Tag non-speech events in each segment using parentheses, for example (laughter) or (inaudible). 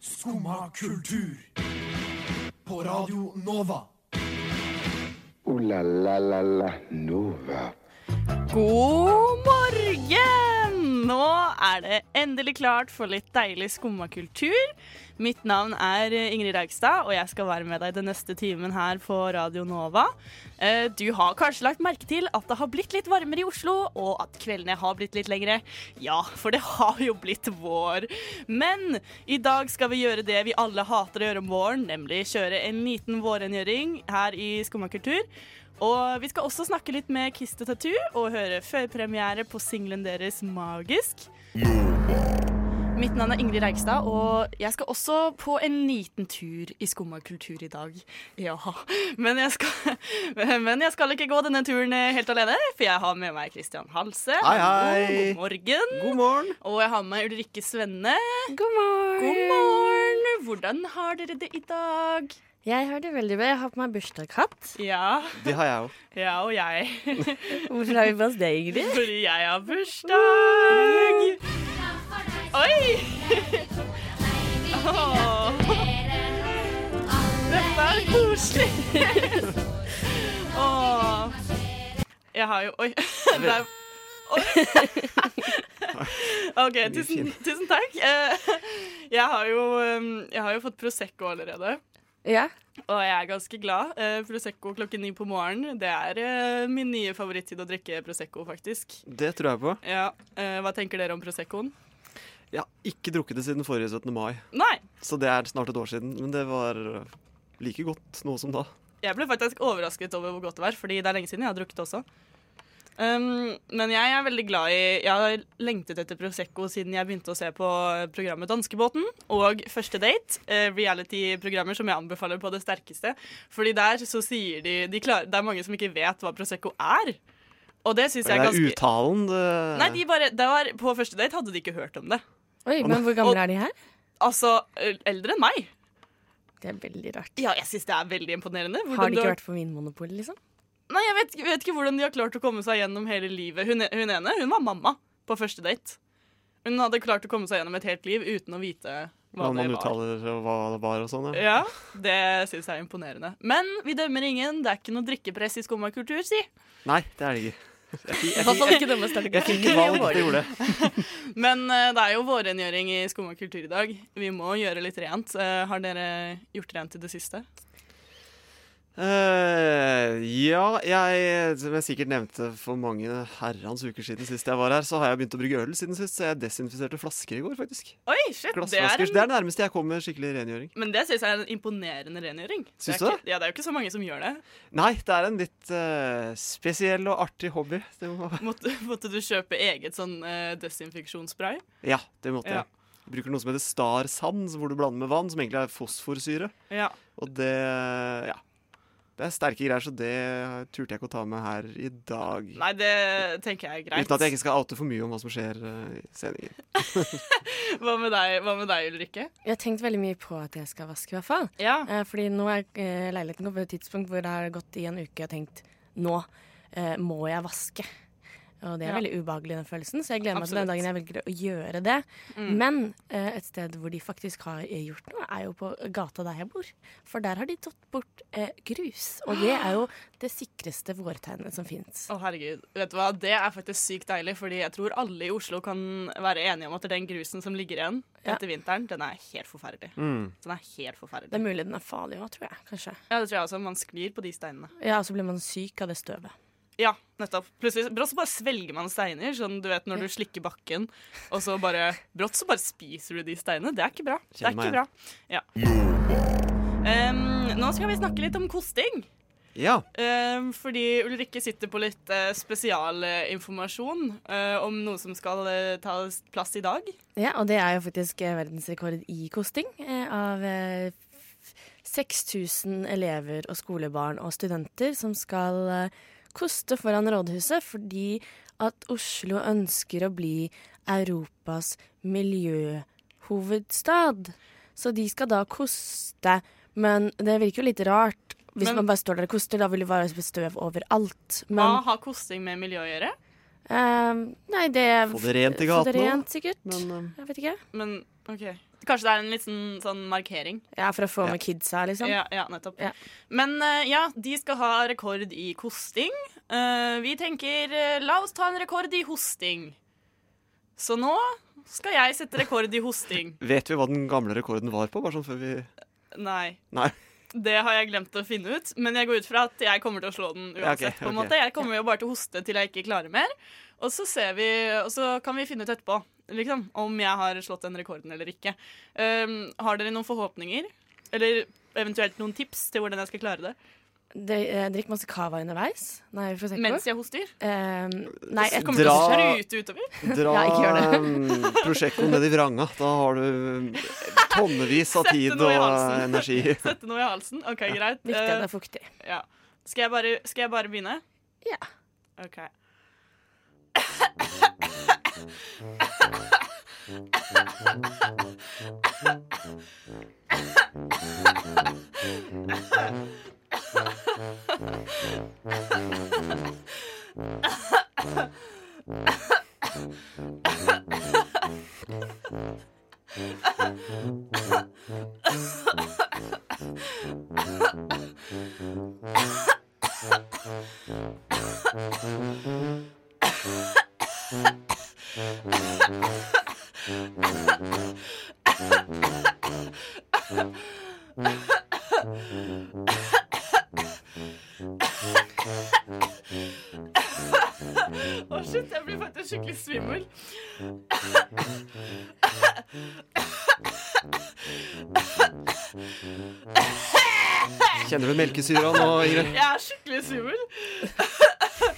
Skumma kultur. På Radio Nova. Ooh la la la la Nova. God morgen! Nå er det endelig klart for litt deilig skumma kultur. Mitt navn er eh, Ingrid Raugstad, og jeg skal være med deg den neste timen her på Radio Nova. Eh, Du har kanskje lagt merke til at det har blitt litt varmere i Oslo, og at kveldene har blitt litt lengre. Ja, for det har jo blitt vår. Men i dag skal vi gjøre det vi alle hater å gjøre om våren, nemlig kjøre en liten vårrengjøring her i Skumma kultur. Og vi skal også snakke litt med Kiss the Tattoo og høre førpremiere på singelen deres Magisk. Mitt navn er Ingrid Reigstad, og jeg skal også på en liten tur i skumma kultur i dag. Ja, men jeg, skal, men jeg skal ikke gå denne turen helt alene, for jeg har med meg Christian Halse. Hei, hei. God morgen. God morgen. Og jeg har med meg Ulrikke Svenne. God morgen. God morgen. Hvordan har dere det i dag? Jeg har det veldig bra. Jeg har på meg bursdagshatt. Ja, Det har jeg òg. (laughs) ja og jeg. Hvorfor har vi på oss det, Ingrid? Fordi jeg har bursdag! Oi! Åh. Dette er koselig. Åh. Jeg har jo Oi. Det er, oi. OK, tusen, tusen takk. Eh, Jeg har, jo, eh, jeg har jo fått Prosecco allerede, Ja. og jeg er ganske glad. Eh, Prosecco klokken ni på morgenen, det er eh, min nye favorittid å drikke Prosecco, faktisk. Det tror jeg på. Ja, eh, Hva tenker dere om Proseccoen? Jeg har ikke drukket det siden forrige 17. mai, Nei, så det er snart et år siden. Men det var eh, like godt nå som da. jeg ble faktisk overrasket over hvor godt det var, fordi det er lenge siden jeg har drukket også. Um, men jeg er veldig glad i Jeg har lengtet etter Prosecco siden jeg begynte å se på eh, programmet Danskebåten og Første date. eh, Reality-programmer som jeg anbefaler på det sterkeste. Fordi der så sier de, de klar, Det er mange som ikke vet hva Prosecco er. Og det syns jeg Det er er ganske uttalen det Nei, de bare, det var, På Første date hadde de ikke hørt om det. Oi, men hvor gamle er de her? Altså, eh, eldre enn meg. Det er veldig rart. Ja, jeg syns det er veldig imponerende. hvordan Har de du ikke vært på Vinmonopolet, liksom? Nei, jeg vet, jeg vet ikke hvordan de har klart å komme seg gjennom hele livet. Hun, hun ene hun var mamma på første date. Hun hadde klart å komme seg gjennom et helt liv uten å vite hva Hva det man var. Eh. uttaler og hva det var og sånn. Ja. Ja, Det syns jeg er imponerende. Men vi dømmer ingen. Det er ikke noe drikkepress i skumma kultur, si. Nei, det er det (laughs) ikke. Hva skal ikke dømmes der? Jeg fikk valg, det gjorde det. Men eh, det er jo vårrengjøring i skumma kultur i dag. Vi må gjøre litt rent. Eh, har dere gjort rent i det siste? Eh, ja, jeg, som jeg sikkert nevnte for mange herrens uker siden sist jeg var her, så har jeg begynt å brygge øl siden sist, så jeg desinfiserte flasker i går, faktisk. Oi, shit! Det er Glassflasker. Det en, er det nærmeste jeg kommer skikkelig rengjøring. men det syns jeg er en imponerende rengjøring. det? Syns du Er ikke, ja, det er jo ikke så mange som gjør det. Nei, det er en litt eh, spesiell og artig hobby. Det må... Måtte, (laughs) måtte du kjøpe eget sånn eh, desinfeksjonsspray? Ja, det måtte Ja. jeg. Jeg bruker noe som heter Star Sands, hvor du blander med vann, som egentlig er fosforsyre. Ja. Og det ja. Det er sterke greier, så det turte jeg ikke å ta med her i dag. Nei, det tenker jeg er greit. Uten at jeg ikke skal oute for mye om hva som skjer eh, i sendinger. hva, med deg, hva med deg, Ulrikke? Jeg har tenkt veldig mye på at jeg skal vaske, i hvert fall. Ja. Eh, Fordi nå er eh, leiligheten kommet på et tidspunkt hvor det har gått i en uke og jeg har tenkt nå eh, må jeg vaske. Og det er Ja. veldig ubehagelig, den følelsen, så jeg gleder meg til Absolutt. den Mm. dagen jeg velger å gjøre det. Men eh, et sted hvor de faktisk har eh, gjort noe, er jo på gata der jeg bor. For der har de tatt bort eh, grus. Og det er jo det sikreste vårtegnet som fins. Å, herregud. Vet du hva, det er faktisk sykt deilig, fordi jeg tror alle i Oslo kan være enige om at den grusen som ligger igjen Ja. etter vinteren, den er helt forferdelig. Mm. Den er helt Det forferdelig. er mulig den er farlig òg, tror jeg. kanskje. Ja, det tror jeg også. Man sklir på de steinene. Ja, Og så blir man syk av det støvet. Ja, nettopp. Plutselig brått så bare svelger man steiner, sånn du vet når du slikker bakken, og så bare brått så bare spiser du de steinene. Det er ikke bra. Det er Kjenner meg ikke bra. Ja. Em, nå skal vi snakke litt om kosting. Ja. Ehm, fordi Ulrikke sitter på litt eh, spesialinformasjon eh, om noe som skal eh, ta plass i dag. Ja, og det er jo faktisk eh, verdensrekord i kosting eh, av eh, f- 6000 elever og skolebarn og studenter som skal eh, koste foran rådhuset fordi at Oslo ønsker å bli Europas miljøhovedstad. Så de skal da koste, men det virker jo litt rart. Hvis Men- man bare står der og koster, da vil det være støv overalt. Hva Men har kosting med miljø å gjøre? eh, nei, det Få det rent i Få det gaten rent, sikkert. Men eh, Jeg vet ikke. Men OK. Kanskje det er en litt sånn, sånn markering. Ja, For å få med kidsa, liksom. Ja, ja nettopp. Ja. Men eh, ja, de skal ha rekord i kosting. Eh, vi tenker eh, la oss ta en rekord i hosting. Så nå skal jeg sette rekord i hosting. Vet vi hva den gamle rekorden var på? Bare sånn før vi Nei. Nei. (laughs) Det har jeg glemt å finne ut, men jeg går ut fra at jeg kommer til å slå den Ja, ok, uansett. på en ok. måte. Jeg kommer jo bare til å hoste til jeg ikke klarer mer, og så, ser vi, og så kan vi finne ut etterpå liksom, om jeg har slått den rekorden eller ikke. Um, har dere noen forhåpninger? Eller eventuelt noen tips til hvordan jeg skal klare det Dri- eh, Drikk masse cava underveis. Nei, for å tenke mens på. jeg hoster? Eh, nei, jeg Kommer til å Dra- sprute utover? (laughs) Dra Ja, ikke gjør mm, Prosjektet ned i vranga. Da har du eh, tonnevis av Sette tid noe i og halsen. energi. Sette noe i halsen? OK, greit. Viktig at det Eh, er fuktig. ja. skal, jeg bare, skal jeg bare begynne? Ja. OK. Å, shit, jeg blir faktisk skikkelig svimmel. Kjenner du melkesyra nå, Ingrid? Jeg er skikkelig svimmel.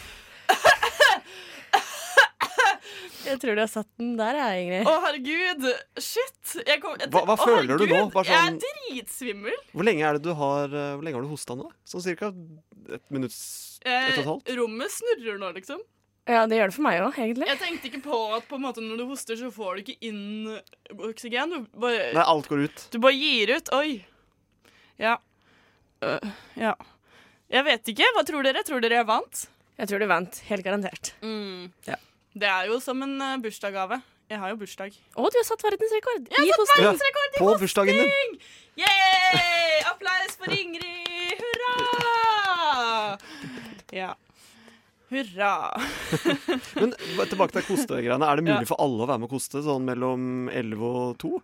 Jeg tror du har satt den der, jeg, Ingrid. Å, herregud. Shit. Jeg kom, jeg, Hva- hva Å, føler du nå? herregud, Bare sånn- Jeg er dritsvimmel. Hvor lenge, er det du har, eh, hvor lenge har du hosta nå? Sånn cirka et minutt Et og Eh, et halvt? rommet snurrer nå, liksom. Ja, det gjør det for meg òg, egentlig. Jeg tenkte ikke på at på en måte når du hoster, så får du ikke inn oksygen. Du bare, Nei, alt går ut. du bare gir ut. Oi. Ja. Øh, ja. Jeg vet ikke. Hva tror dere? Tror dere jeg vant? Jeg tror du vant. Helt garantert. Mm. Ja. Det er jo som en eh, bursdagsgave. Jeg har jo bursdag. Å, du har satt verdensrekord! Jeg I har satt posten. verdensrekord i På bursdagen din. hosting! Yay! Applaus for Ingrid! Hurra! Ja. Hurra. Men ba- tilbake til kostegreiene. Er det mulig for alle å være med å koste sånn mellom 11 og 2?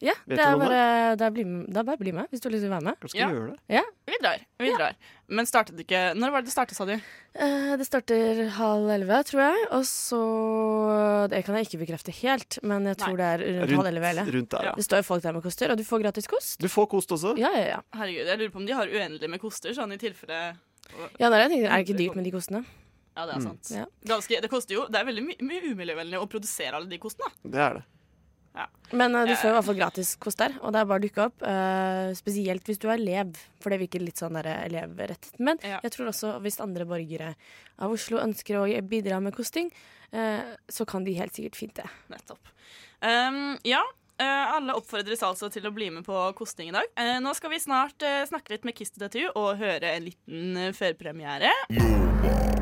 Ja, Vet det du er noe om bare, det er bli med, det er bare bli med hvis du har lyst til å være med. Kanskje Ja. ja. gjøre det? Ja. Vi drar. Vi drar. Men startet ikke Når var det det startet, sa du? Eh, Det starter halv elleve, tror jeg. Og så Det kan jeg ikke bekrefte helt, men jeg tror det er rundt, halv elleve. eller? rundt der, Ja. ja. Det står jo folk der med koster, og du får gratis kost. Du får kost også. Ja, ja, ja. Herregud, jeg lurer på om de har uendelig med koster, sånn i tilfelle ja nei, jeg tenker, er det ikke dyrt med de kostene? Ja, det er sant. Mm. Ja. Ganske, det koster jo Det er veldig my mye umiljøvennlig å produsere alle de kostene. da. Det er det. Men eh, du får i hvert fall gratis kost der, og det er bare å dukke opp. eh, spesielt hvis du er elev, for det virker litt sånn der elevrettet. Men Ja. jeg tror også hvis andre borgere av Oslo ønsker å bidra med kosting, eh, så kan de helt sikkert fint det. Nettopp. Um, ja, eh, alle oppfordres altså til å bli med på kosting i dag. Eh, nå skal vi snart eh, snakke litt med Kiss the Tattoo og høre en liten eh, førpremiere.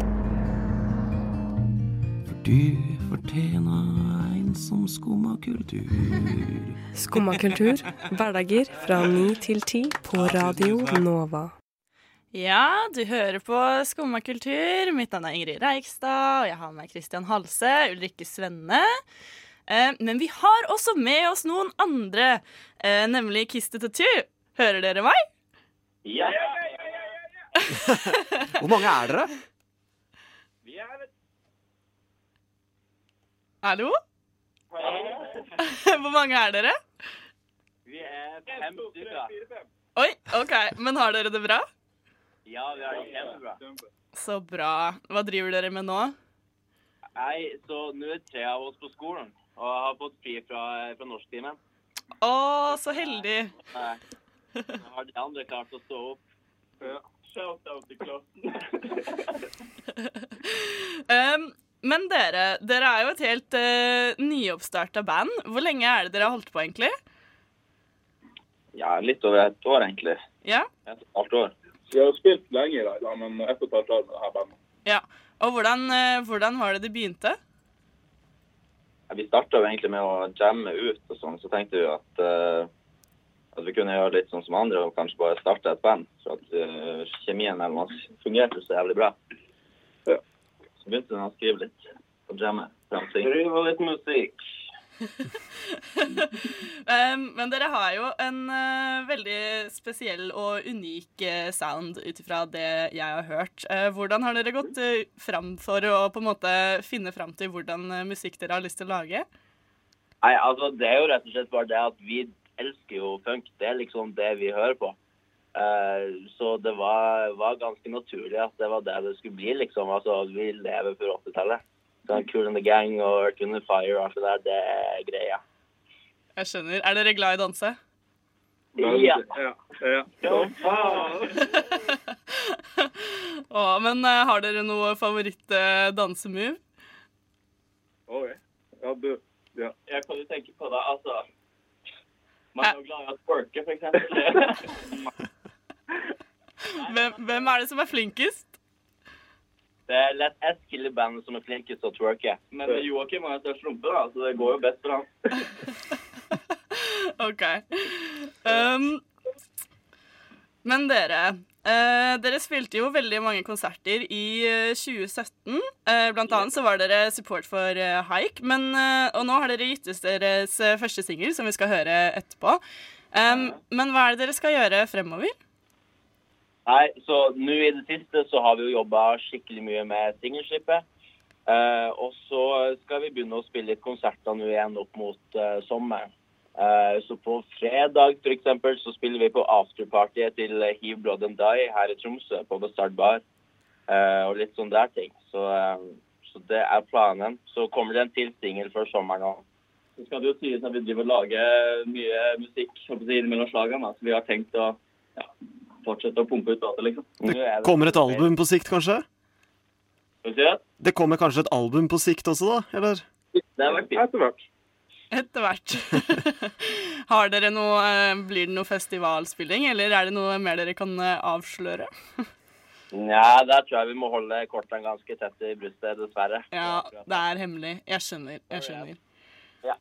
Du fortjener en som skummer kultur. Skumma kultur. Hverdager fra ni til ti på Radio Nova. Ja, du hører på Skumma kultur. Mitt navn er Ingrid Reikstad, og jeg har med Christian Halse, Ulrikke Svenne. Eh, men vi har også med oss noen andre, eh, nemlig Kiss the Tattoo. Hører dere meg? Hvor mange er dere? Hallo? (laughs) Hvor mange er dere? Vi er fem stykker. Oi, ok. Men har dere det bra? Ja, vi har det kjempebra. Så bra. Hva driver dere med nå? Nei, så nå er tre av oss på skolen, og jeg har fått fri fra, fra norsktimen. Å, så heldig. Nei, Nå har de andre klart å stå opp. Shout-out til klassen. Um, men dere, dere er jo et helt uh, nyoppstarta band. Hvor lenge er det dere har holdt på, egentlig? Ja, litt over et år, egentlig. Ja? Et halvt år. Vi har jo spilt lenge i dag, da, men ett og et halvt år med det her bandet. ja. Og hvordan, eh, hvordan var det det begynte? Ja, Vi starta jo egentlig med å jamme ut og sånn, så tenkte vi at, eh, at vi kunne gjøre litt sånn som andre og kanskje bare starte et band. For at eh, kjemien mellom oss fungerte så jævlig bra. Ja. Så begynte vi å skrive litt og jamme. Skrive litt musikk. Um, men dere har jo en eh, veldig spesiell og unik eh, sound ut ifra det jeg har hørt. Eh, hvordan har dere gått eh, fram for å på en måte finne fram til hvordan eh, musikk dere har lyst til å lage? Nei, altså det er jo rett og slett bare det at vi elsker jo funk. Det er liksom det vi hører på. Eh, så det var, var ganske naturlig at det var det det skulle bli, liksom. Altså, vi lever for 80-tallet. Sånn Cool in the Gang og Earth in the Fire og alt det der, det er greia. Jeg skjønner. Er dere glad i å danse? Ja. ja, ja. Å, men eh, har dere noe eh, favoritt-dansemove? Ok. Ja, du. Ja. Ja, hva du tenker på da, altså. man er jo glad i å twerke, for (laughs) eksempel. hvem, hvem er det som er flinkest? Det er lett Eskil i bandet som er flinkest til å twerke. Men Joakim har jo størst rumpe, da, så det går jo best for han. OK. Um, men dere eh, Dere spilte jo veldig mange konserter i eh, 2017. Eh, blant annet så var dere support for eh, Haik. Men, eh, og nå har dere gitt ut deres eh, første singel, som vi skal høre etterpå. Um, men hva er det dere skal gjøre fremover? Nei, så nå i det siste så har vi jo jobba skikkelig mye med singelslippet. Eh, og så skal vi begynne å spille litt konserter nå igjen opp mot eh, sommeren. Eh, så på fredag for eksempel, så spiller vi på afterpartyet til eh, Heave Blood and Die her i Tromsø på Bastard Bar. Eh, og litt sånn der ting. Så, eh, så det er planen. Så kommer det en til singel før sommeren òg. Så skal det jo sies at vi driver og lager mye musikk innimellom slagene. Så vi har tenkt å fortsette å pumpe ut data, liksom. Det kommer et album på sikt, kanskje? Skal vi si det? Det kommer kanskje et album på sikt også, da? Eller? Det har vært fint. Etter hvert. Etter hvert. (laughs) har dere noe, eh, blir det noe festivalspilling, eller er det noe mer dere kan eh, avsløre? Nja, der tror jeg vi må holde kortene ganske tett i brystet, dessverre. Ja, det er hemmelig. Jeg skjønner. Jeg skjønner. Ja.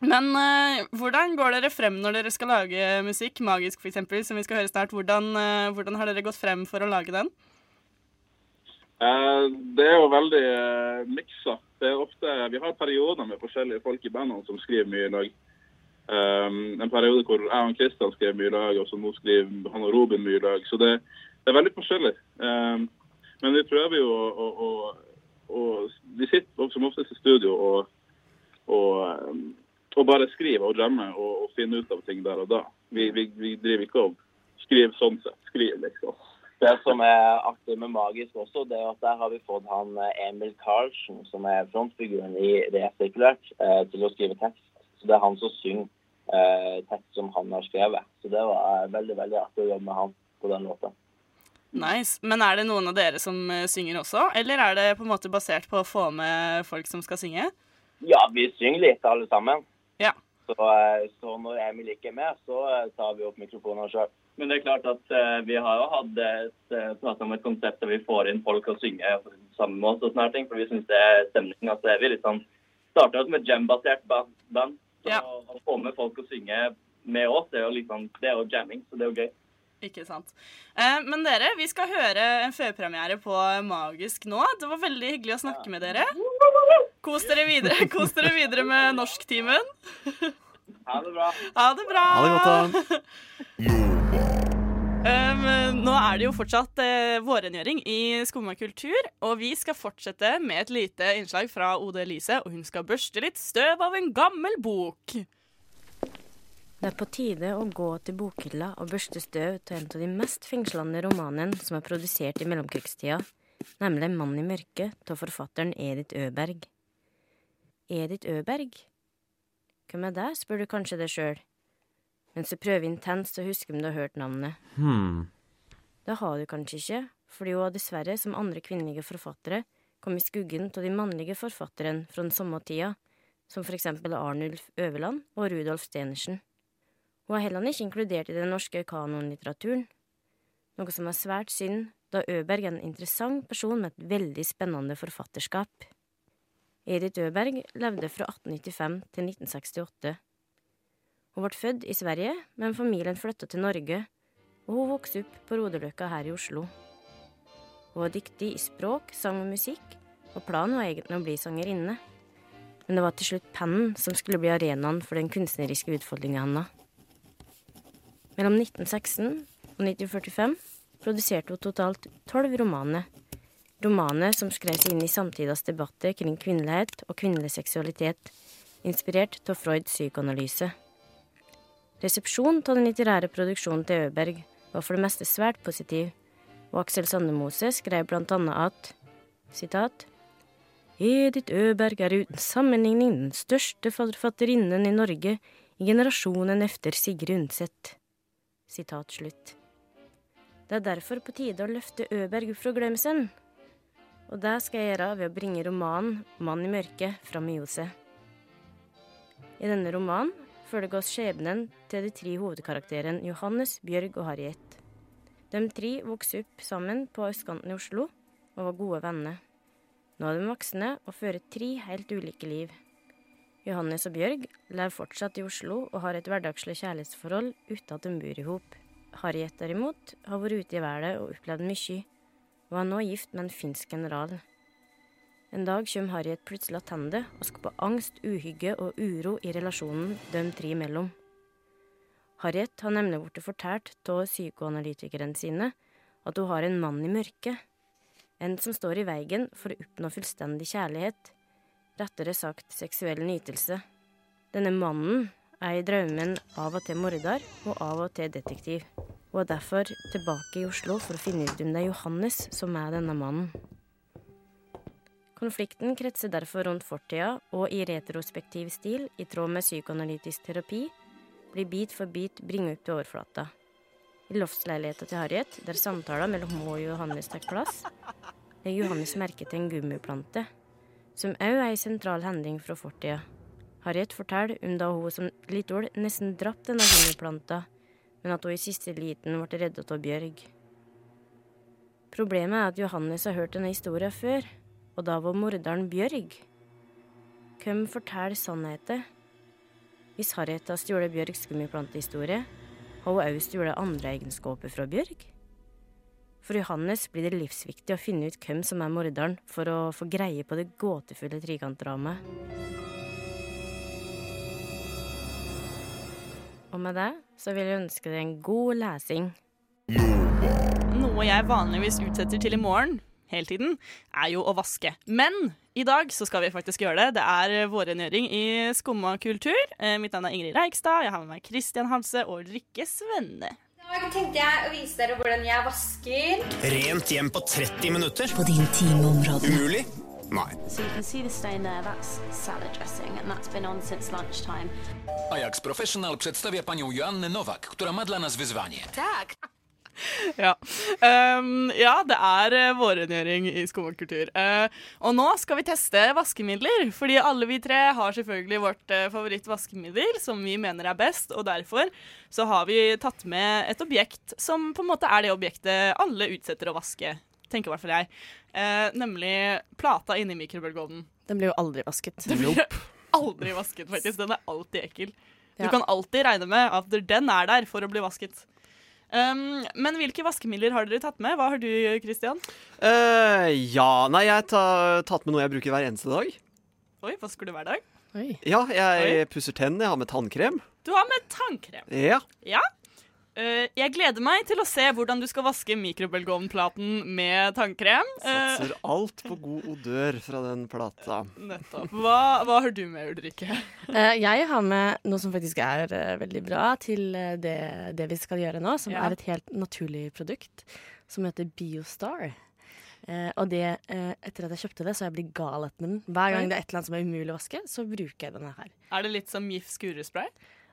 Men eh, hvordan går dere frem når dere skal lage musikk? Magisk, f.eks., som vi skal høre snart. Hvordan, eh, hvordan har dere gått frem for å lage den? Eh, det er jo veldig eh, miksa. Det er ofte, vi har perioder med forskjellige folk i bandene som skriver mye i lag. Um, en periode hvor jeg og Kristian skrev mye i lag, og så nå skriver han og Robin mye i lag. Så det, det er veldig forskjellig. Um, men vi prøver jo å, å, å, å Vi sitter som oftest i studio og, og, um, og bare skriver og jammer og, og finner ut av ting der og da. Vi, vi, vi driver ikke og skriver sånn sett. Skriver, liksom. Det som er artig med Magisk også, det er at der har vi fått han eh, Emil Karlsen, som er frontfiguren i Resirkulert, eh, til å skrive tekst. Så det er han som synger eh, tekst som han har skrevet. Så det var eh, veldig, veldig artig å jobbe med han på den låta. Nice. Men er det noen av dere som eh, synger også, eller er det på en måte basert på å få med folk som skal synge? Ja, vi synger litt alle sammen. Ja. Så, eh, så når Emil ikke er med, så eh, tar vi opp mikrofonene sjøl. Men det er klart at eh, vi har jo hatt prata om et konsept der vi får inn folk og synger sammen med oss og sånne her ting, for vi syns det er stemning. Altså, vi liksom starta som et jam-basert ba- band. Så Ja. å få med folk og synge med oss, det er jo liksom, det er jo jamming, så det er jo gøy. Ikke sant. Eh, men dere, vi skal høre en førpremiere på Magisk nå. Det var veldig hyggelig å snakke med dere. Kos dere videre, Kos dere videre med norsktimen. Ha det bra. Ha det bra! Ha det godt, da. Um, nå er det jo fortsatt eh, vårrengjøring i Skumma kultur, og vi skal fortsette med et lite innslag fra OD Elise, og hun skal børste litt støv av en gammel bok. Det er på tide å gå til bokhylla og børste støv til en av de mest fengslende romanene som er produsert i mellomkrigstida, nemlig 'Mann i mørket' av forfatteren Edith Øberg. Edith Øberg? Hvem er det, spør du kanskje deg sjøl, mens du prøver intenst å huske om du har hørt navnet. Hmm. Det har du kanskje ikke, fordi hun har dessverre, som andre kvinnelige forfattere, kom i skuggen av de mannlige forfatterne fra den samme tida, som for eksempel Arnulf Øverland og Rudolf Stenersen. Hun er heller ikke inkludert i den norske kanonlitteraturen, noe som er svært synd, da Øberg er en interessant person med et veldig spennende forfatterskap. Edith Øberg levde fra 1895 til 1968. Hun ble født i Sverige, men familien flytta til Norge, og hun vokste opp på Rodeløkka her i Oslo. Hun var dyktig i språk, sang og musikk, og planen var egentlig å bli sangerinne. Men det var til slutt pennen som skulle bli arenaen for den kunstneriske utfoldinga hennes. Mellom 1916 og 1945 produserte hun totalt tolv romaner. Romaner som skrev seg inn i samtidas debatter kring kvinnelighet og kvinnelig seksualitet, inspirert av Freuds psykoanalyse. Resepsjonen av den litterære produksjonen til Øberg var for det meste svært positiv, og Aksel Sandemose skrev blant annet at sitat, Edith Øberg er uten sammenligning den største forfatterinnen i Norge i generasjonen efter Sigrid Undset. Sitat slutt. Det er derfor på tide å løfte Øberg opp fra glemselen. Og det skal jeg gjøre ved å bringe romanen 'Mann i mørket' fram i ljoset. I denne romanen følger oss skjebnen til de tre hovedkarakterene Johannes, Bjørg og Harriet. De tre vokste opp sammen på østkanten i Oslo og var gode venner. Nå er de voksne og fører tre helt ulike liv. Johannes og Bjørg lever fortsatt i Oslo og har et hverdagslig kjærlighetsforhold uten at de bor i hop. Harriet derimot har vært ute i været og opplevd mye, og er nå gift med en finsk general. En dag kommer Harriet plutselig tilbake og skaper angst, uhygge og uro i relasjonen de tre imellom. Harriet har nemlig blitt fortalt av psykoanalytikerne sine at hun har en mann i mørket. En som står i veien for å oppnå fullstendig kjærlighet, rettere sagt seksuell nytelse. Denne mannen er i drømmen av og til morder og av og til detektiv, og er derfor tilbake i Oslo for å finne ut om det er Johannes som er denne mannen. Konflikten kretser derfor rundt fortida, og i retrospektiv stil, i tråd med psykoanalytisk terapi, blir bit for bit bringet opp til overflata. I loftsleiligheta til Harriet, der samtaler mellom hun og Johannes tar plass, legger Johannes merke til en gummiplante, som òg er ei sentral hending fra fortida. Harriet forteller om da hun som liten nesten drap denne gummiplanta, men at hun i siste liten ble redda av Bjørg. Problemet er at Johannes har hørt denne historien før, og da var morderen Bjørg. Hvem forteller sannheten? Hvis Harriet har stjålet Bjørgs gummiplantehistorie, har hun også stjålet andre egenskaper fra Bjørg? For Johannes blir det livsviktig å finne ut hvem som er morderen, for å få greie på det gåtefulle trikantdramaet. Og med det så vil jeg ønske deg en god lesing. Noe jeg vanligvis utsetter til i morgen hele tiden, er jo å vaske. Men i dag så skal vi faktisk gjøre det. Det er vårrengjøring i Skumma kultur. Eh, Mitt navn er Ingrid Reikstad. Jeg har med meg Kristian Hanse og Rikke Svenne. I dag tenkte jeg å vise dere hvordan jeg vasker. Rent hjem på 30 minutter. På de intime områdene. Umulig? Nei. So you can see the stain there, that's salad dressing, and that's been on since lunchtime. Ajax Professional przedstawia panią Joannę Nowak, która ma dla nas wyzwanie. Tak! (laughs) Ja. Um, ja, det er eh, vårrengjøring i Skumma kultur. Eh, og nå skal vi teste vaskemidler, fordi alle vi tre har selvfølgelig vårt eh, favorittvaskemiddel, som vi mener er best, og derfor så har vi tatt med et objekt som på en måte er det objektet alle utsetter å vaske, tenker i hvert fall jeg, Eh, nemlig plata inni mikrobølgeovnen. Den blir jo aldri vasket. Den blir aldri vasket, faktisk. Den er alltid ekkel. Du Ja. kan alltid regne med at den er der for å bli vasket. Um, men hvilke vaskemidler har dere tatt med? Hva har du, Christian? Eh, ja, nei, jeg har tatt med noe jeg bruker hver eneste dag. Oi, vasker du hver dag? Ja, jeg pusser tennene, jeg har med tannkrem. Du har med tannkrem. Ja. Ja. Eh, jeg gleder meg til å se hvordan du skal vaske mikrobølgeovnplaten med tannkrem. Eh, Satser alt på god odør fra den plata. nettopp. Hva, hva har du med, Ulrikke? Eh, jeg har med noe som faktisk er eh, veldig bra til eh, det, det vi skal gjøre nå, som Ja. er et helt naturlig produkt som heter Biostar. Eh, og det, eh, etter at jeg kjøpte det, så jeg blir gal etter den. Hver Oi. gang det er et eller annet som er umulig å vaske, så bruker jeg denne her. Er det litt som Gif skurespray?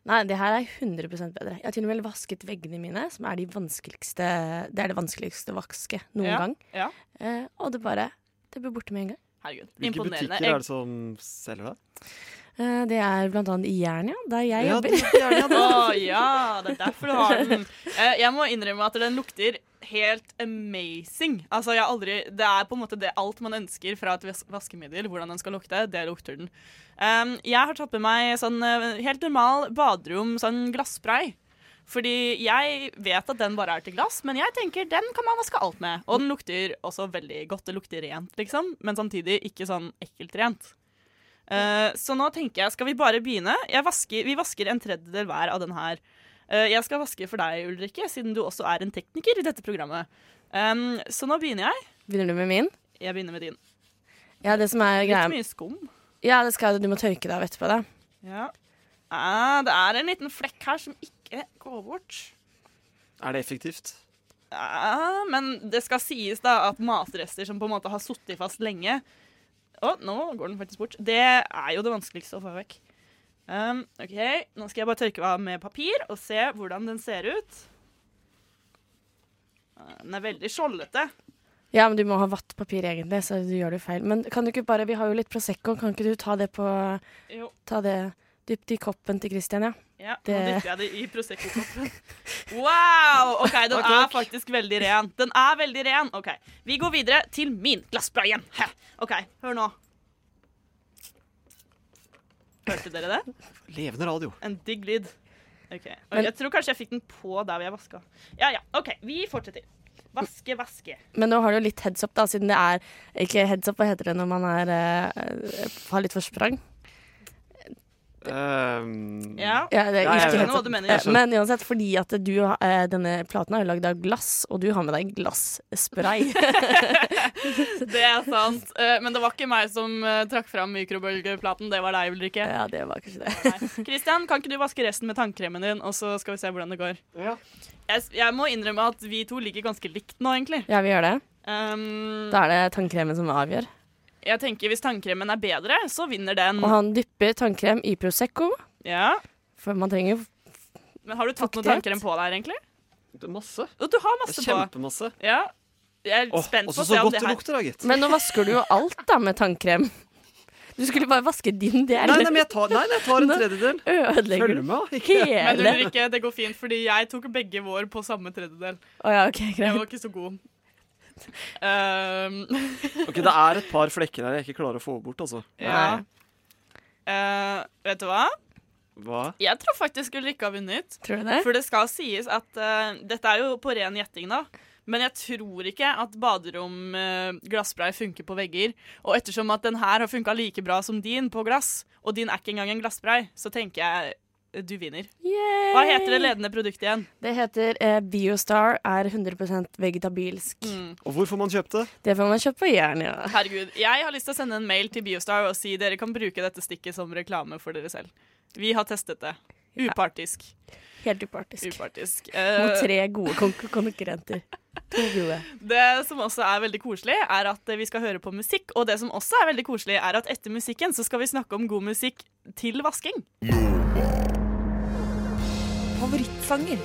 Nei, det her er 100 bedre. Jeg har til og med vasket veggene mine, som er de vanskeligste Det er det vanskeligste å vaske noen Ja, gang. ja. Eh, og det bare Det blir borte med en gang. Herregud, Hvilke imponerende. butikker er det som selger det? Eh, det er blant annet i Jernia, der jeg Ja, jobber. (laughs) det er Jernia, Å ja, det er derfor du har den. Eh, Jeg må innrømme at den lukter helt amazing. Altså, jeg har aldri Det er på en måte det alt man ønsker fra et vas- vaskemiddel. Hvordan den skal lukte, det lukter den. Um, jeg har tatt med meg sånn eh, helt normal baderom, sånn glasspray. Fordi jeg vet at den bare er til glass, men jeg tenker den kan man vaske alt med. Og den lukter også veldig godt. Det lukter rent, liksom, men samtidig ikke sånn ekkelt rent. Eh, så nå tenker jeg, skal vi bare begynne? Jeg vasker, vi vasker en tredjedel hver av den her. Eh, jeg skal vaske for deg, Ulrikke, siden du også er en tekniker i dette programmet. Em, så nå begynner jeg. Begynner du med min? Jeg begynner med din. Ja, det som er Litt greia mye skum. Ja, det skal, du må tørke deg av etterpå, da. Ja. Ah, det er en liten flekk her som ikke går bort. Er det effektivt? Ja, Ah, men det skal sies da at matrester som på en måte har sittet fast lenge Å, nå går den faktisk bort. Det er jo det vanskeligste å få vekk. Um, OK, nå skal jeg bare tørke av med papir og se hvordan den ser ut. Ah, Den er veldig skjoldete. Ja, men du må ha vatt papir egentlig, så du gjør det feil. Men kan du ikke bare, vi har jo litt Prosecco, kan ikke du ta det på Jo. Ta det dypt i koppen til Christian, ja? Ja, det, Nå dytter jeg det i Prosecco-koppen. Wow! OK, den er faktisk veldig ren. Den er veldig ren. OK, vi går videre til min glassbra igjen. Hæ. OK, hør nå. Hørte dere det? Levende radio. En digg lyd. Ok, og Men- Jeg tror kanskje jeg fikk den på der hvor jeg vaska. Ja, ja, OK, vi fortsetter. Vaske, vaske. Men nå har du jo litt heads up, da, siden det er Ikke heads up, hva heter det når man er, eh, har litt forsprang? Ehm, Ja, det er jeg ikke skjønner heads up. hva du mener. Eh, Jeg skjønner. Men uansett, fordi at du, har- eh, denne platen er jo lagd av glass, og du har med deg (laughs) glasspray. Det er sant. Eh, Men det var ikke meg som eh, trakk fram mikrobølgeplaten. Det var deg, Ulrikke. Ja, det (laughs) var kanskje det. Kristian, kan ikke du vaske resten med tannkremen din, og så skal vi se hvordan det går? Jeg, s- jeg må innrømme at vi to ligger ganske likt nå, egentlig. ja, vi gjør det. Ehm, Da er det tannkremen som avgjør. jeg tenker hvis tannkremen er bedre, så vinner den. Og han dypper tannkrem i Prosecco, Ja. for man trenger jo Men har du tatt noe Fuktighet? tanker enn på deg, egentlig? Masse. Du har masse på. Kjempemasse. Ja. Jeg er Åh, spent på også å så se om godt det det her lukter, da, gitt. (laughs) Men nå vasker du jo alt da med tannkrem. Du skulle bare vaske din del. Nei, nei, men jeg tar- nei, nei, jeg tar en tredjedel. Nå ødelegger Følg med, du ikke- (laughs) Men hele. Ulrikke, det går fint, fordi jeg tok begge vår på samme tredjedel. Å ja, ok, greit. Jeg var ikke så god. Ehm, Ok, Det er et par flekker her jeg ikke klarer å få bort, altså. ja. Eh, vet du hva? Hva? Jeg tror faktisk Ulrikke har vunnet. Tror du det? For det skal sies at eh, Dette er jo på ren gjetting, da. Men jeg tror ikke at baderom eh, glasspray funker på vegger. Og ettersom at den her har funka like bra som din på glass, og din er ikke engang en glasspray, så tenker jeg eh, du vinner. Hva heter det ledende produktet igjen? Det heter eh, Biostar, er 100 vegetabilsk. Og hvor får man kjøpt det? Det får man kjøpt på Jern, ja. Herregud, jeg har lyst til å sende en mail til Biostar og si dere kan bruke dette stikket som reklame for dere selv. Vi har testet det. Upartisk. Helt upartisk. Upartisk. Mot Eh, tre gode konk- konkurrenter. To gode. Det som også er veldig koselig, er at vi skal høre på musikk. Og det som også er veldig koselig, er at etter musikken så skal vi snakke om god musikk til vasking. Favorittsanger.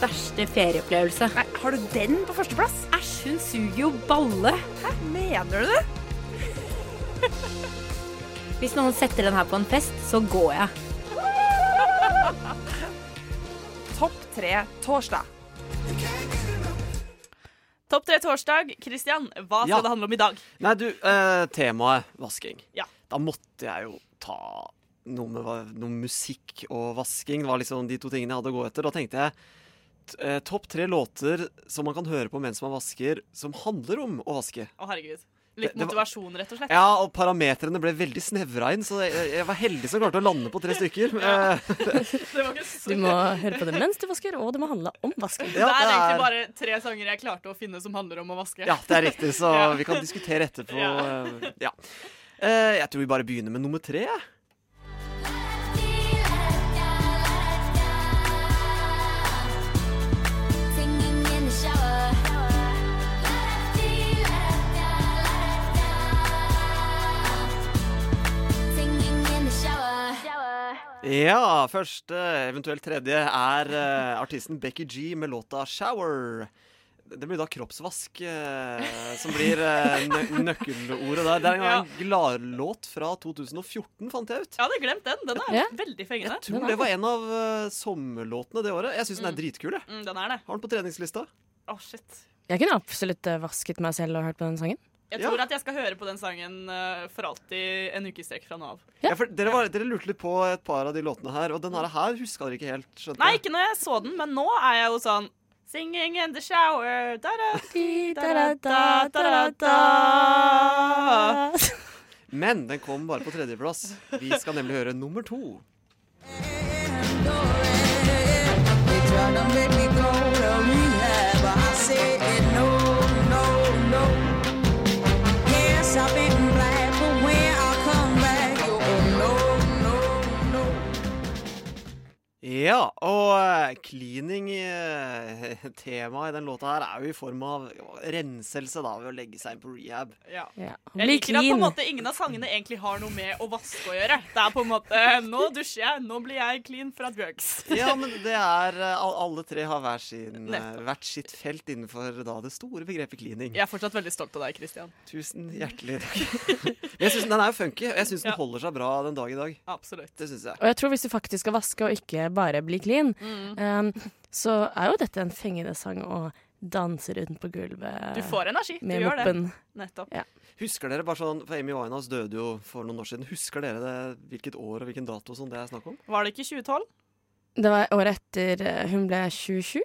Verste ferieopplevelse. Nei, har du den på førsteplass? Æsj, hun suger jo balle. Hæ, mener du det? (laughs) Hvis noen setter den her på en fest, så går jeg. Topp tre torsdag. Topp tre torsdag. Christian, hva skal Ja. det handle om i dag? Nei, du, eh, temaet vasking. Ja. Da måtte jeg jo ta noe med va- noe musikk og vasking. Det var liksom de to tingene jeg hadde å gå etter. Da tenkte jeg t- eh, topp tre låter som man kan høre på mens man vasker, som handler om å vaske. Å, herregud. Litt Det- det var- motivasjon, rett og slett. Ja, og parametrene ble veldig snevra inn, så jeg, jeg var heldig som klarte å lande på tre stykker. Eh, Du må høre på det mens du vasker, og det må handle om vasking. det er egentlig bare tre sanger jeg klarte å finne som handler om å vaske. Ja, det er riktig, så Ja. vi kan diskutere etterpå. Ja. eh, Ja. Eh, Jeg tror vi bare begynner med nummer tre. jeg. Ja, første, eventuelt tredje, er eh, artisten Becky G med låta 'Shower'. Det blir da kroppsvask eh, som blir eh, nø nøkkelordet der. Det er en, Ja. en gladlåt fra 2014, fant jeg ut. Jeg hadde glemt den. Den er Ja. veldig fengende. Jeg tror det var en av eh, sommerlåtene det året. Jeg syns den er dritkul. jeg. Mm, den er det. Har den på treningslista. Å, shit. Jeg kunne absolutt eh, vasket meg selv og hørt på den sangen. Jeg tror at jeg skal høre på den sangen eh, for alltid en uke i strekk fra nå av. Ja, for dere, var, dere lurte litt på et par av de låtene her, og den her, her huska dere ikke helt. skjønte Mm. Nei, jeg. ikke når jeg så den, men nå er jeg jo sånn Singing in the shower da da di, da da da da da da Men den kom bare på tredjeplass. Vi skal nemlig høre nummer to. Ja, og eh, cleaning eh, Temaet i den låta her er jo i form av renselse da ved å legge seg inn på rehab. Ja. Ja. Jeg Bli liker at på en clean. måte ingen av sangene egentlig har noe med å vaske å gjøre. Det er på en måte Nå dusjer jeg, nå blir jeg clean fra drugs. Ja, (laughs) men det er eh, al- Alle tre har hver sin, eh, Nettopp. hvert sitt felt innenfor da det store begrepet cleaning. Jeg er fortsatt veldig stolt av deg, Christian. (laughs) Tusen hjertelig takk. Men jeg synes Den er jo funky, og jeg syns den holder seg bra den dag i dag. Absolutt. Det synes Og jeg. jeg tror hvis du faktisk skal vaske og ikke bare bli clean, Mm. eh, så er jo dette en fengende sang å danse rundt på gulvet Du får energi. Du med gjør det. moppen. Nettopp. Ja. Husker dere bare sånn, for Amy Winehouse døde jo for noen år siden. Husker dere det, hvilket år og hvilken dato som det er snakk om? Var det ikke 2012? Det var året etter eh, hun ble 27.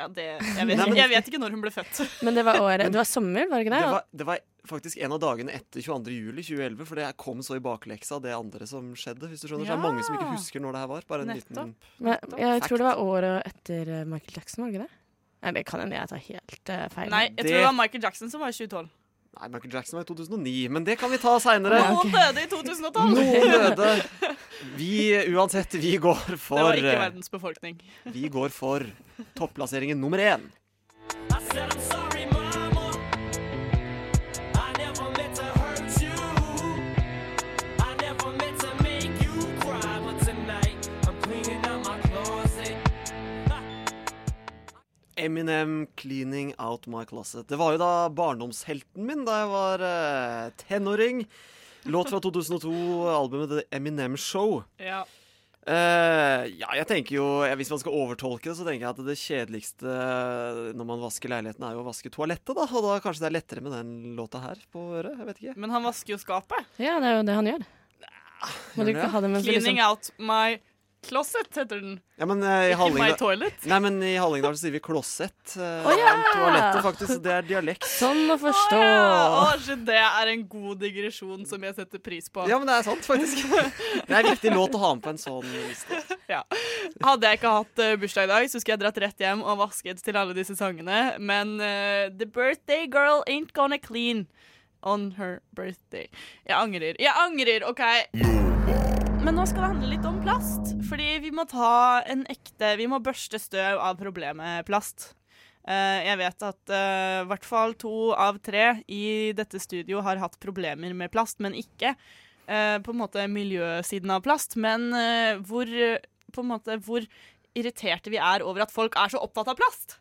Ja, det, jeg, vet, jeg vet ikke når hun ble født. Men (laughs) det var året Det var sommer, var det ikke det? Det var, det var faktisk en av dagene etter 22. juli 2011, for det kom så i bakleksa det andre som skjedde. hvis du skjønner. Så det er mange som ikke Ja. husker når det her var. Bare en liten... Men jeg tror det var året etter eh, Michael Jackson, var det ikke det? Nei, det kan hende jeg tar helt eh, feil. Nei, jeg tror det var Michael Jackson som var i 2012. Nei, Michael Jackson var i 2009, men det kan vi ta seinere. Noen døde i 2012. Noen døde. Vi, uansett, vi går for eh, Det var ikke verdens befolkning. Vi går for topplasseringen nummer én. Eminem 'Cleaning Out My Closet'. Det var jo da barndomshelten min da jeg var eh, tenåring. Låt fra 2002, albumet The Eminem Show. Ja. Eh, ja, jeg tenker jo eh, Hvis man skal overtolke det, så tenker jeg at det kjedeligste eh, når man vasker leiligheten, er jo å vaske toalettet, da. Og da kanskje det er lettere med den låta her på øret. Jeg vet ikke. Men han vasker jo skapet. Ja, det er jo det han gjør. Må Gjør du han det? ikke ha det mens du Cleaning liksom out my closet, heter den. Ja, men, eh, i Ikke Hallingdal- my toilet? Nei, men i Hallingdal så sier vi klosett. eh, Å, ja! Toalettet, faktisk. så Det er dialekt. Sånn å forstå. Ja, å, shit, det er en god digresjon som jeg setter pris på. Ja, men det er sant, (laughs) faktisk. Det er en viktig låt å ha med på en sånn liste. Ja. Hadde jeg ikke hatt eh, bursdag i dag, så skulle jeg dratt rett hjem og vasket til alle disse sangene. Men eh, The Birthday Girl Ain't Gonna Clean On Her Birthday. Jeg angrer. Jeg angrer, OK? Men nå skal det handle litt om plast. Fordi vi må ta en ekte Vi må børste støv av problemet plast. Eh, jeg vet at eh, i hvert fall to av tre i dette studio har hatt problemer med plast, men ikke eh, på en måte miljøsiden av plast. Men eh, hvor, eh, på en måte, hvor irriterte vi er over at folk er så opptatt av plast.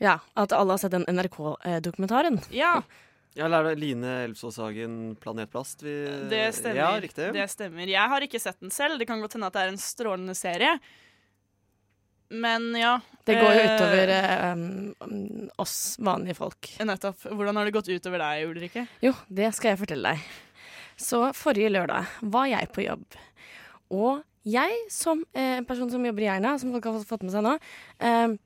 Ja, at alle har sett den NRK-dokumentaren. Ja, Ja, eller er det Line Elvsås Hagen, 'Planetplast'? Vi... det stemmer. Ja, riktig. Det stemmer. Jeg har ikke sett den selv. Det kan godt hende at det er en strålende serie. Men ja Det går jo eh, utover eh, um, oss vanlige folk. Nettopp. Hvordan har det gått utover deg, Ulrikke? Jo, det skal jeg fortelle deg. Så forrige lørdag var jeg på jobb. Og jeg, som eh, en person som jobber i Jernia, som folk har fått- fått med seg nå eh,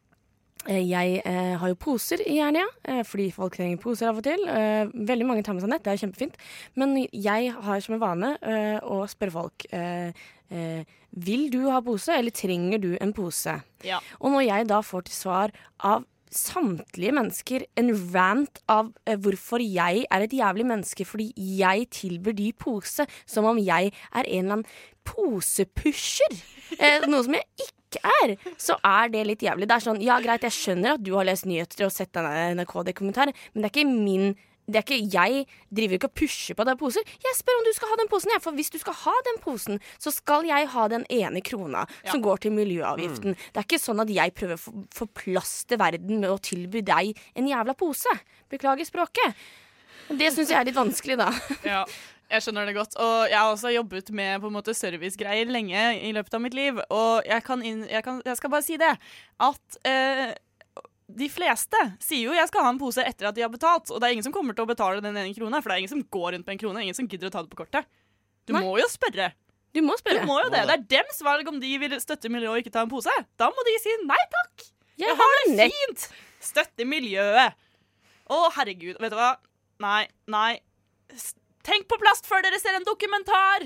Jeg eh, har jo poser i Jernia, eh, fordi folk trenger poser av og til. Eh, veldig mange tar med seg nett, det er jo kjempefint. Men jeg har som en vane eh, å spørre folk eh, eh, Vil du ha pose, eller trenger du en pose? Ja. Og når jeg da får til svar av samtlige mennesker en rant av eh, hvorfor jeg er et jævlig menneske fordi jeg tilbyr de pose, som om jeg er en eller annen posepusher, eh, noe som jeg ikke er, så er det litt jævlig. Det er sånn, ja greit, jeg skjønner at du har lest nyheter og sett denne NRK-dokumentaren, men det er ikke min det er ikke, jeg driver ikke og pusher på deg poser. Jeg spør om du skal ha den posen. Jeg. For hvis du skal ha den posen, så skal jeg ha den ene krona som går til miljøavgiften. Mm. Det er ikke sånn at jeg prøver å få- forplaste verden med å tilby deg en jævla pose. Beklager språket. Det syns jeg er litt vanskelig, da. Ja, jeg skjønner det godt. Og jeg har også jobbet med på en måte servicegreier lenge i løpet av mitt liv. Og jeg, kan inn, jeg, kan, jeg skal bare si det at eh, de fleste sier jo jeg skal ha en pose etter at de har betalt, og det er ingen som kommer til å betale den ene krona, for det er ingen som går rundt på en krone, ingen som gidder å ta det på kortet. Du må jo spørre. Du må spørre. jo det. Det er dems valg om de vil støtte miljøet og ikke ta en pose. Da må de si nei takk. Jeg, har det fint. Støtte miljøet. Å, herregud. Vet du hva? Nei, nei. S- Tenk på plast før dere ser en dokumentar!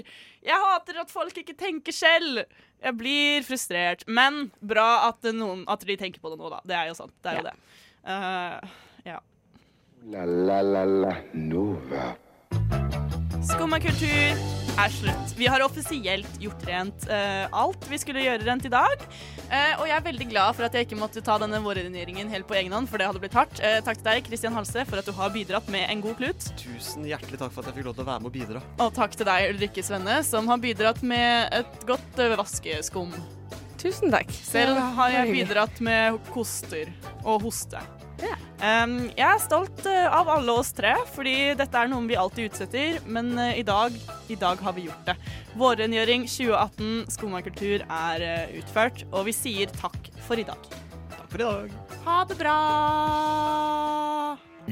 Jeg hater at folk ikke tenker selv. Jeg blir frustrert. Men bra at, det noen, at de tenker på det nå, da. Det er jo sant. Det er jo det. Eh, ja. La la la la Nova. Skumma kultur er slutt. Vi har offisielt gjort rent eh, alt vi skulle gjøre rent i dag. Eh, og jeg er veldig glad for at jeg ikke måtte ta denne vårrengjeringen helt på egen hånd, for det hadde blitt hardt. Eh, takk til deg, Kristian Halse, for at du har bidratt med en god klut. Tusen hjertelig takk for at jeg fikk lov til å være med og bidra. Og takk til deg, Ulrikke Svenne, som har bidratt med et godt eh, vaskeskum. Tusen takk. Selv Ja, har jeg hyggelig. bidratt med koster og hoste. Um, jeg er stolt eh, av alle oss tre, fordi dette er noe vi alltid utsetter, men eh, i, dag, i dag har vi gjort det. Vårrengjøring 2018 Skumma kultur er eh, utført, og vi sier takk for i dag. Takk for i dag. Ha det bra!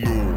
Nova.